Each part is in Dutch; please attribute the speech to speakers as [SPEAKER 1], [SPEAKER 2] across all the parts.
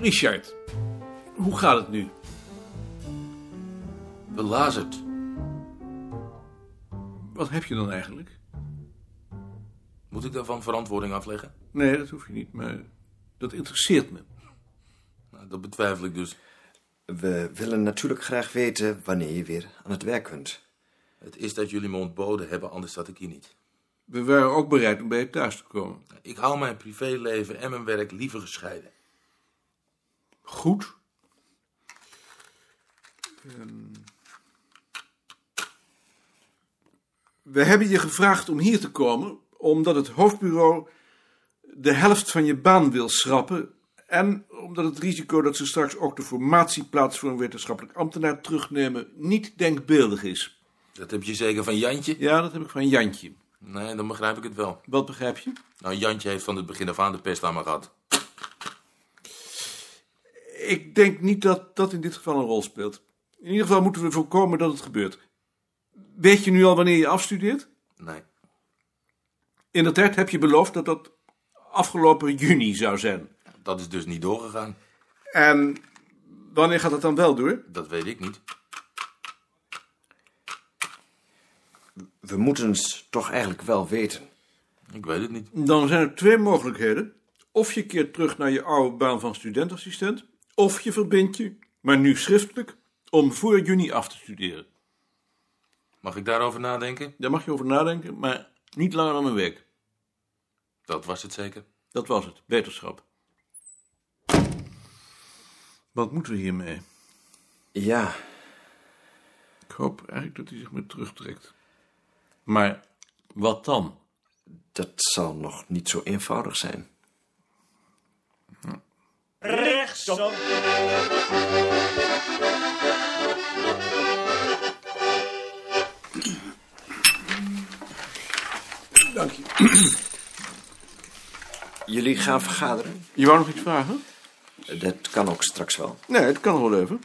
[SPEAKER 1] Hey Sjart, hoe gaat het nu? Belazerd. Wat heb je dan eigenlijk?
[SPEAKER 2] Moet ik daarvan verantwoording afleggen?
[SPEAKER 1] Nee, dat hoef je niet, maar dat interesseert me.
[SPEAKER 2] Nou, dat betwijfel ik dus.
[SPEAKER 3] We willen natuurlijk graag weten wanneer je weer aan het werk kunt.
[SPEAKER 2] Het is dat jullie me ontboden hebben, anders zat ik hier niet. Nou,
[SPEAKER 1] We waren ook bereid om bij je thuis te komen.
[SPEAKER 2] Ik hou mijn privéleven en mijn werk liever gescheiden.
[SPEAKER 1] Goed. Ehm, we hebben je gevraagd om hier te komen, omdat het hoofdbureau de helft van je baan wil schrappen. En omdat het risico dat ze straks ook de formatieplaats voor een wetenschappelijk ambtenaar terugnemen niet denkbeeldig is.
[SPEAKER 2] Dat heb je zeker van Jantje?
[SPEAKER 1] Ja, dat heb ik van Jantje.
[SPEAKER 2] Nee, dan begrijp ik het wel.
[SPEAKER 1] Wat begrijp je?
[SPEAKER 2] Nou, Jantje heeft van het begin af aan de pest aan me gehad.
[SPEAKER 1] Ik denk niet dat dat in dit geval een rol speelt. In ieder geval moeten we voorkomen dat het gebeurt. Weet je nu al wanneer je afstudeert?
[SPEAKER 2] Nee,
[SPEAKER 1] In de tijd heb je beloofd dat dat afgelopen juni zou zijn.
[SPEAKER 2] dat is dus niet doorgegaan.
[SPEAKER 1] En wanneer gaat dat dan wel door?
[SPEAKER 2] Dat weet ik niet.
[SPEAKER 3] We moeten het toch eigenlijk wel weten.
[SPEAKER 2] Ik weet het niet.
[SPEAKER 1] Dan zijn er twee mogelijkheden. Of je keert terug naar je oude baan van studentassistent, of je verbindt je, maar nu schriftelijk, om voor juni af te studeren.
[SPEAKER 2] Mag ik daarover nadenken?
[SPEAKER 1] Daar mag je over nadenken, maar niet langer dan een week.
[SPEAKER 2] Dat was het zeker.
[SPEAKER 1] Dat was het, wetenschap. Wat moeten we hiermee?
[SPEAKER 3] Ja,
[SPEAKER 1] Ik hoop eigenlijk dat hij zich meer terugtrekt. Maar wat dan?
[SPEAKER 3] dat zal nog niet zo eenvoudig zijn.
[SPEAKER 4] rechtsom.
[SPEAKER 1] Dank je.
[SPEAKER 3] Jullie gaan vergaderen?
[SPEAKER 1] Je wou nog iets vragen?
[SPEAKER 3] Dat kan ook straks wel.
[SPEAKER 1] Nee, het kan wel even.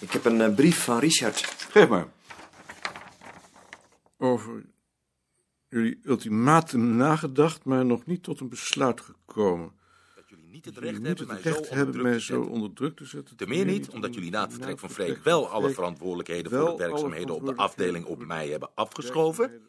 [SPEAKER 3] Ik heb een eh, brief van Richard.
[SPEAKER 1] Geef maar. Over jullie ultimatum nagedacht, maar nog niet tot een besluit gekomen.
[SPEAKER 2] Dat jullie niet het
[SPEAKER 1] Jullie
[SPEAKER 2] recht
[SPEAKER 1] niet
[SPEAKER 2] hebben
[SPEAKER 1] het
[SPEAKER 2] mij
[SPEAKER 1] recht
[SPEAKER 2] zo onder
[SPEAKER 1] hebben
[SPEAKER 2] druk te
[SPEAKER 1] mij zo
[SPEAKER 2] zetten.
[SPEAKER 1] onder druk te zetten.
[SPEAKER 2] Te meer niet, omdat jullie na het vertrek van Freek wel alle verantwoordelijkheden voor de
[SPEAKER 1] wel alle
[SPEAKER 2] werkzaamheden op de
[SPEAKER 1] verantwoordelijkheden
[SPEAKER 2] afdeling op
[SPEAKER 1] voor
[SPEAKER 2] mij hebben afgeschoven,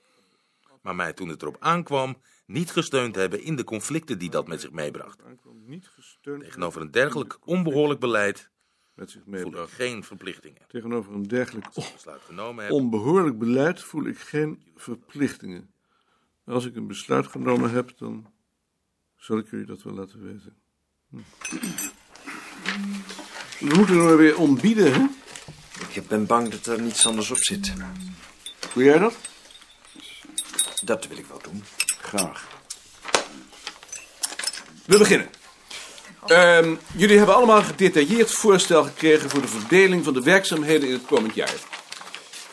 [SPEAKER 2] maar mij toen het erop aankwam niet gesteund hebben in de conflicten die dat met zich meebracht.
[SPEAKER 1] Niet gesteund
[SPEAKER 2] Tegenover een dergelijk onbehoorlijk beleid
[SPEAKER 1] met zich
[SPEAKER 2] voel ik
[SPEAKER 1] meebracht.
[SPEAKER 2] geen verplichtingen.
[SPEAKER 1] Tegenover een dergelijk
[SPEAKER 2] Als ik besluit genomen heb,
[SPEAKER 1] onbehoorlijk beleid voel ik geen verplichtingen. Als ik een besluit genomen heb, dan zal ik jullie dat wel laten weten. Hm. We moeten er weer ontbieden, hè?
[SPEAKER 3] Ik ben bang dat er niets anders op zit.
[SPEAKER 1] Doe jij dat?
[SPEAKER 3] Dat wil ik wel doen.
[SPEAKER 1] Graag. We beginnen. Ehm, jullie hebben allemaal een gedetailleerd voorstel gekregen voor de verdeling van de werkzaamheden in het komend jaar.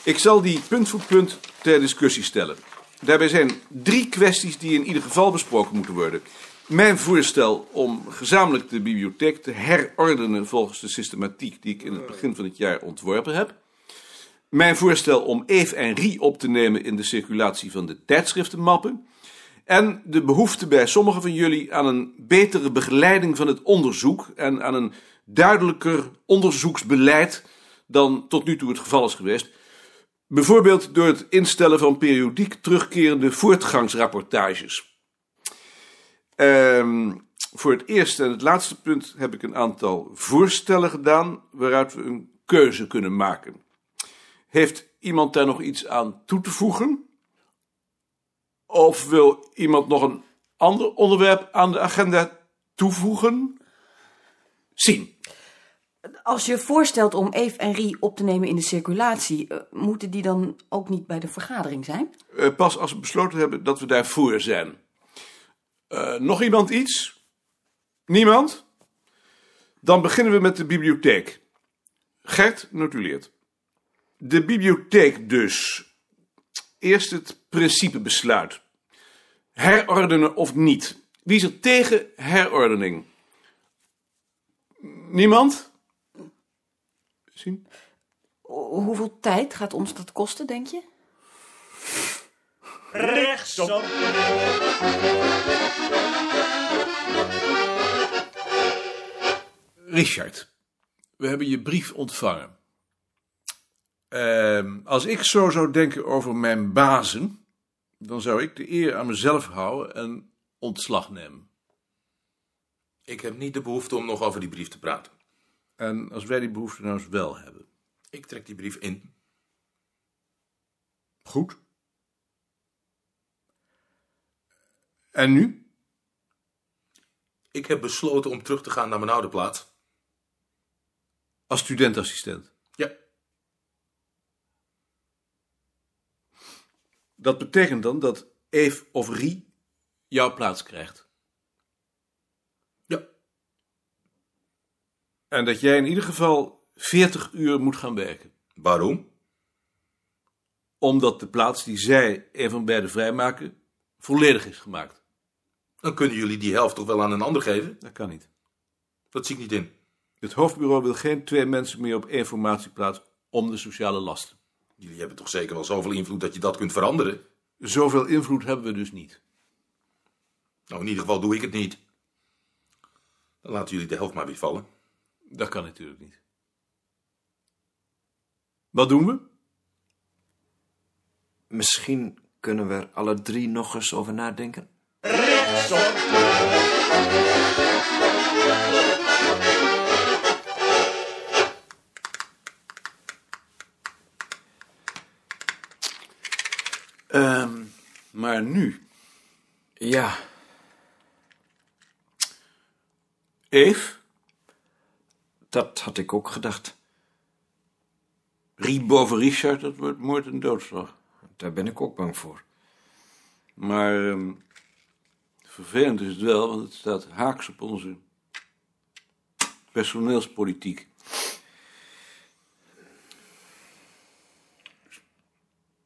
[SPEAKER 1] Ik zal die punt voor punt ter discussie stellen. Daarbij zijn drie kwesties die in ieder geval besproken moeten worden. Mijn voorstel om gezamenlijk de bibliotheek te herordenen volgens de systematiek die ik in het begin van het jaar ontworpen heb. Mijn voorstel om Eve en Rie op te nemen in de circulatie van de tijdschriftenmappen. En de behoefte bij sommigen van jullie aan een betere begeleiding van het onderzoek en aan een duidelijker onderzoeksbeleid dan tot nu toe het geval is geweest. Bijvoorbeeld door het instellen van periodiek terugkerende voortgangsrapportages. Ehm, voor het eerste en het laatste punt heb ik een aantal voorstellen gedaan waaruit we een keuze kunnen maken. Heeft iemand daar nog iets aan toe te voegen? Of wil iemand nog een ander onderwerp aan de agenda toevoegen? Zien.
[SPEAKER 5] Als je voorstelt om Eve en Rie op te nemen in de circulatie, eh, moeten die dan ook niet bij de vergadering zijn?
[SPEAKER 1] Eh, pas als we besloten hebben dat we daarvoor zijn. Eh, nog iemand iets? Niemand? Dan beginnen we met de bibliotheek. Gert notuleert. De bibliotheek dus. Eerst het principebesluit. Herordenen of niet. Wie is er tegen herordening? Niemand? Zien?
[SPEAKER 5] Ho- Hoeveel tijd gaat ons dat kosten, denk je?
[SPEAKER 4] rechtsom.
[SPEAKER 1] Richard, we hebben je brief ontvangen. Ehm, als ik zo zou denken over mijn bazen, dan zou ik de eer aan mezelf houden en ontslag nemen.
[SPEAKER 2] Ik heb niet de behoefte om nog over die brief te praten.
[SPEAKER 1] En als wij die behoefte nou eens wel hebben.
[SPEAKER 2] Ik trek die brief in.
[SPEAKER 1] Goed. En nu?
[SPEAKER 2] Ik heb besloten om terug te gaan naar mijn oude plaats.
[SPEAKER 1] Als studentassistent.
[SPEAKER 2] Ja,
[SPEAKER 1] Dat betekent dan dat Eve of Rie jouw plaats krijgt.
[SPEAKER 2] ja,
[SPEAKER 1] En dat jij in ieder geval 40 uur moet gaan werken.
[SPEAKER 2] Waarom?
[SPEAKER 1] Omdat de plaats die zij en van beiden vrijmaken volledig is gemaakt.
[SPEAKER 2] Dan kunnen jullie die helft toch wel aan een ander geven?
[SPEAKER 1] Dat kan niet.
[SPEAKER 2] Dat zie ik niet in.
[SPEAKER 1] Het hoofdbureau wil geen twee mensen meer op één formatieplaats om de sociale lasten.
[SPEAKER 2] Jullie hebben toch zeker wel zoveel invloed dat je dat kunt veranderen?
[SPEAKER 1] Zoveel invloed hebben we dus niet.
[SPEAKER 2] Nou, in ieder geval doe ik het niet. Dan laten jullie de helft maar weer vallen.
[SPEAKER 1] Dat kan natuurlijk niet. Wat doen we?
[SPEAKER 3] Misschien kunnen we er alle drie nog eens over nadenken.
[SPEAKER 1] Ehm, maar nu,
[SPEAKER 3] Ja,
[SPEAKER 1] Eve,
[SPEAKER 3] dat had ik ook gedacht.
[SPEAKER 1] Rie boven Richard, dat wordt moord en doodslag.
[SPEAKER 3] Daar ben ik ook bang voor.
[SPEAKER 1] Maar ehm, vervelend is het wel, want het staat haaks op onze personeelspolitiek.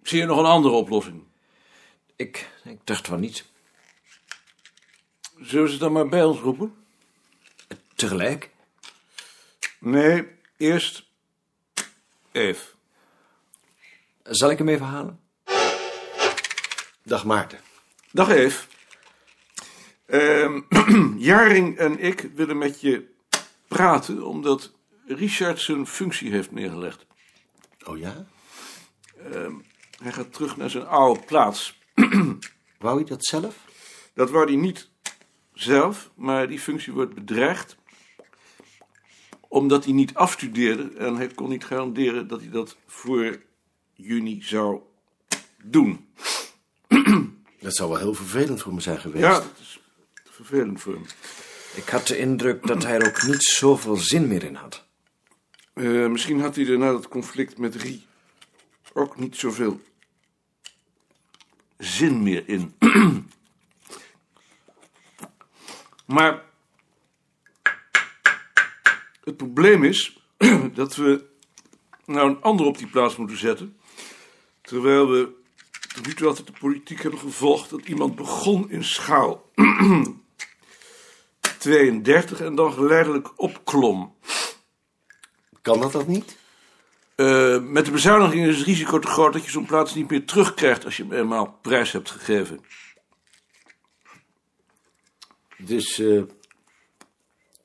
[SPEAKER 1] Zie je nog een andere oplossing?
[SPEAKER 3] Ik, ik dacht wel niet.
[SPEAKER 1] Zullen we ze dan maar bij ons roepen?
[SPEAKER 3] Tegelijk?
[SPEAKER 1] Nee, eerst Eve.
[SPEAKER 3] Zal ik hem even halen? Dag Maarten.
[SPEAKER 1] Dag Eve. Ehm, Jaring en ik willen met je praten omdat Richard zijn functie heeft neergelegd.
[SPEAKER 3] Oh ja?
[SPEAKER 1] Hij gaat terug naar zijn oude plaats.
[SPEAKER 3] Wou je dat zelf?
[SPEAKER 1] Dat wou hij niet zelf, maar die functie wordt bedreigd omdat hij niet afstudeerde en hij kon niet garanderen dat hij dat voor juni zou doen.
[SPEAKER 6] Dat zou wel heel vervelend voor me zijn geweest.
[SPEAKER 1] Ja, dat is vervelend voor hem.
[SPEAKER 3] Ik had de indruk dat hij er ook niet zoveel zin meer in had.
[SPEAKER 1] Eh, misschien had hij er na dat conflict met Rie ook niet zoveel zin meer in. maar het probleem is dat we nou een ander op die plaats moeten zetten. Terwijl we tot nu toe altijd de politiek hebben gevolgd dat iemand begon in schaal 32 en dan geleidelijk opklom.
[SPEAKER 6] Kan dat dat niet?
[SPEAKER 1] Eh, met de bezuiniging is het risico te groot dat je zo'n plaats niet meer terugkrijgt als je hem eenmaal prijs hebt gegeven.
[SPEAKER 6] Dus eh,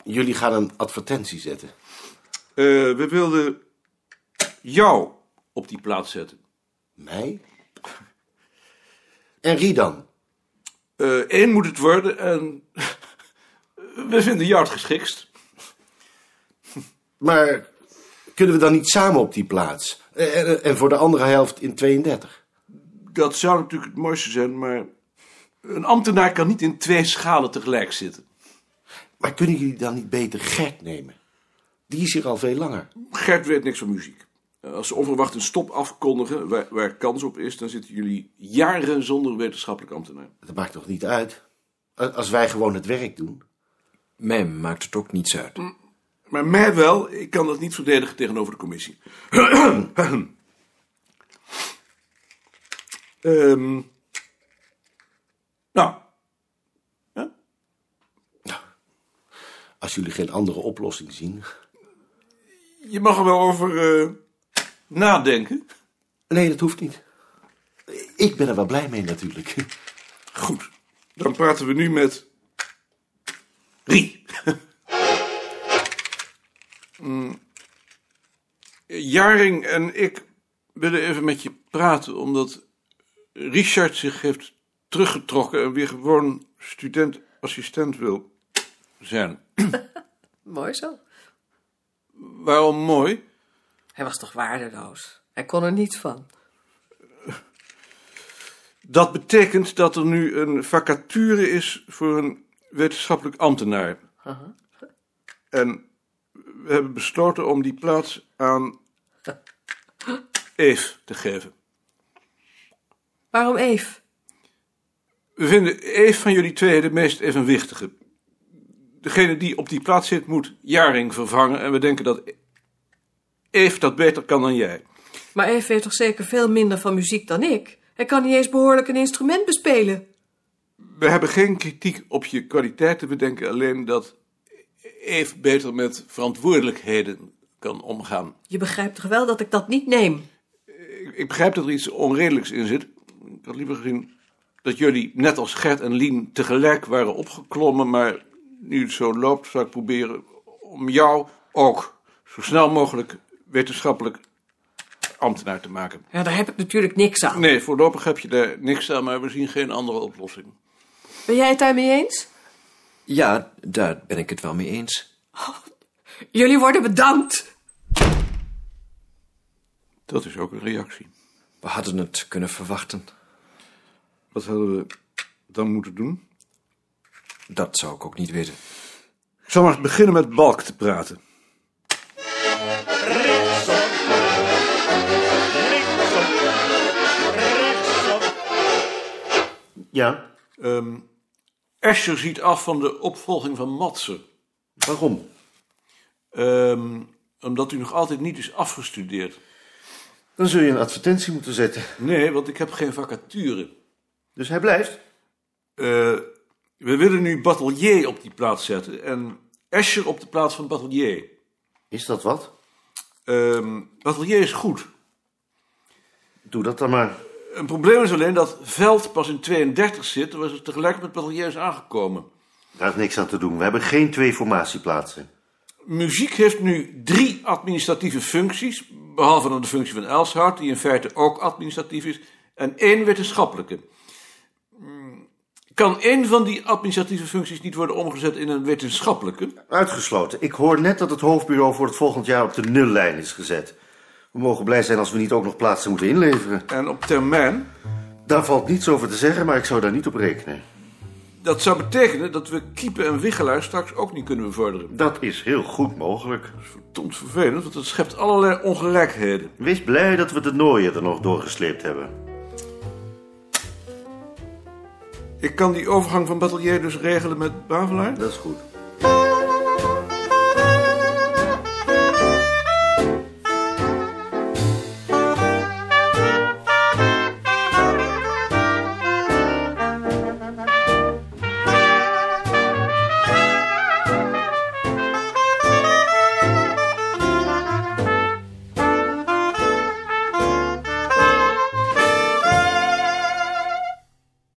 [SPEAKER 6] jullie gaan een advertentie zetten.
[SPEAKER 1] Eh, we wilden jou op die plaats zetten.
[SPEAKER 6] Mij? En Ridan?
[SPEAKER 1] Eén Eh, moet het worden en we vinden jou het geschikst.
[SPEAKER 6] Maar kunnen we dan niet samen op die plaats? Eh, eh, en voor de andere helft in 32?
[SPEAKER 1] Dat zou natuurlijk het mooiste zijn, maar een ambtenaar kan niet in twee schalen tegelijk zitten.
[SPEAKER 6] Maar kunnen jullie dan niet beter Gert nemen? Die is hier al veel langer.
[SPEAKER 1] Gert weet niks van muziek. Eh, Als ze onverwacht een stop afkondigen waar, waar kans op is, dan zitten jullie jaren zonder wetenschappelijk ambtenaar.
[SPEAKER 6] Dat maakt toch niet uit? A- Als wij gewoon het werk doen.
[SPEAKER 3] Mij maakt het ook niets uit.
[SPEAKER 1] Maar mij wel, ik kan dat niet verdedigen tegenover de commissie. Ehm, nou,
[SPEAKER 6] Als jullie geen andere oplossing zien.
[SPEAKER 1] je mag er wel over eh, nadenken.
[SPEAKER 6] Nee, dat hoeft niet. Ik ben er wel blij mee natuurlijk.
[SPEAKER 1] Goed, dan praten we nu met Rie. Mm. Jaring en ik willen even met je praten, omdat Richard zich heeft teruggetrokken en weer gewoon student-assistent wil zijn.
[SPEAKER 7] Mooi zo.
[SPEAKER 1] Waarom mooi?
[SPEAKER 7] Hij was toch waardeloos? Hij kon er niets van.
[SPEAKER 1] Dat betekent dat er nu een vacature is voor een wetenschappelijk ambtenaar. En we hebben besloten om die plaats aan Eve te geven.
[SPEAKER 7] Waarom Eve?
[SPEAKER 1] We vinden Eve van jullie twee de meest evenwichtige. Degene die op die plaats zit moet Jaring vervangen en we denken dat Eve dat beter kan dan jij.
[SPEAKER 7] Maar Eve weet toch zeker veel minder van muziek dan ik? Hij kan niet eens behoorlijk een instrument bespelen.
[SPEAKER 1] We hebben geen kritiek op je kwaliteiten. We denken alleen dat Eve beter met verantwoordelijkheden kan omgaan.
[SPEAKER 7] Je begrijpt toch wel dat ik dat niet neem?
[SPEAKER 1] Ik, ik begrijp dat er iets onredelijks in zit. Ik had liever gezien dat jullie, net als Gert en Lien, tegelijk waren opgeklommen. Maar nu het zo loopt, zou ik proberen om jou ook zo snel mogelijk wetenschappelijk ambtenaar te maken.
[SPEAKER 7] Ja, daar heb ik natuurlijk niks aan.
[SPEAKER 1] Nee, voorlopig heb je daar niks aan, maar we zien geen andere oplossing.
[SPEAKER 7] Ben jij het daarmee eens?
[SPEAKER 3] Ja, daar ben ik het wel mee eens.
[SPEAKER 7] Jullie worden bedankt.
[SPEAKER 1] Dat is ook een reactie.
[SPEAKER 3] We hadden het kunnen verwachten.
[SPEAKER 1] Wat hadden we dan moeten doen?
[SPEAKER 3] Dat zou ik ook niet weten.
[SPEAKER 1] Ik zal maar beginnen met Balk te praten.
[SPEAKER 4] rechtsom, linksom, rechtsom,
[SPEAKER 6] Ja.
[SPEAKER 1] Ehm Escher ziet af van de opvolging van Matsen.
[SPEAKER 6] Waarom?
[SPEAKER 1] Ehm, omdat u nog altijd niet is afgestudeerd.
[SPEAKER 6] Dan zul je een advertentie moeten zetten.
[SPEAKER 1] Nee, want ik heb geen vacature.
[SPEAKER 6] Dus hij blijft.
[SPEAKER 1] Eh, we willen nu Batelier op die plaats zetten. En Escher op de plaats van Batelier.
[SPEAKER 6] Is dat wat?
[SPEAKER 1] Ehm Batelier is goed.
[SPEAKER 6] Doe dat dan maar.
[SPEAKER 1] Een probleem is alleen dat Veld pas in 32 zit... terwijl ze tegelijk met Batelier is aangekomen.
[SPEAKER 6] Daar is niks aan te doen. We hebben geen twee formatieplaatsen.
[SPEAKER 1] Muziek heeft nu drie administratieve functies, behalve dan de functie van Elshout, die in feite ook administratief is, en één wetenschappelijke. Mm, Kan één van die administratieve functies niet worden omgezet in een wetenschappelijke?
[SPEAKER 6] Uitgesloten. Ik hoor net dat het hoofdbureau voor het volgend jaar op de nullijn is gezet. We mogen blij zijn als we niet ook nog plaatsen moeten inleveren.
[SPEAKER 1] En op termijn,
[SPEAKER 6] Daar valt niets over te zeggen, maar ik zou daar niet op rekenen.
[SPEAKER 1] dat zou betekenen dat we Kiepen en Wichelaar straks ook niet kunnen bevorderen.
[SPEAKER 6] Dat is heel goed mogelijk.
[SPEAKER 1] Verdomd vervelend, want dat schept allerlei ongelijkheden.
[SPEAKER 6] Wees blij dat we de nooien er nog doorgesleept hebben.
[SPEAKER 1] Ik kan die overgang van Batelier dus regelen met Bavelaar?
[SPEAKER 6] Dat is goed.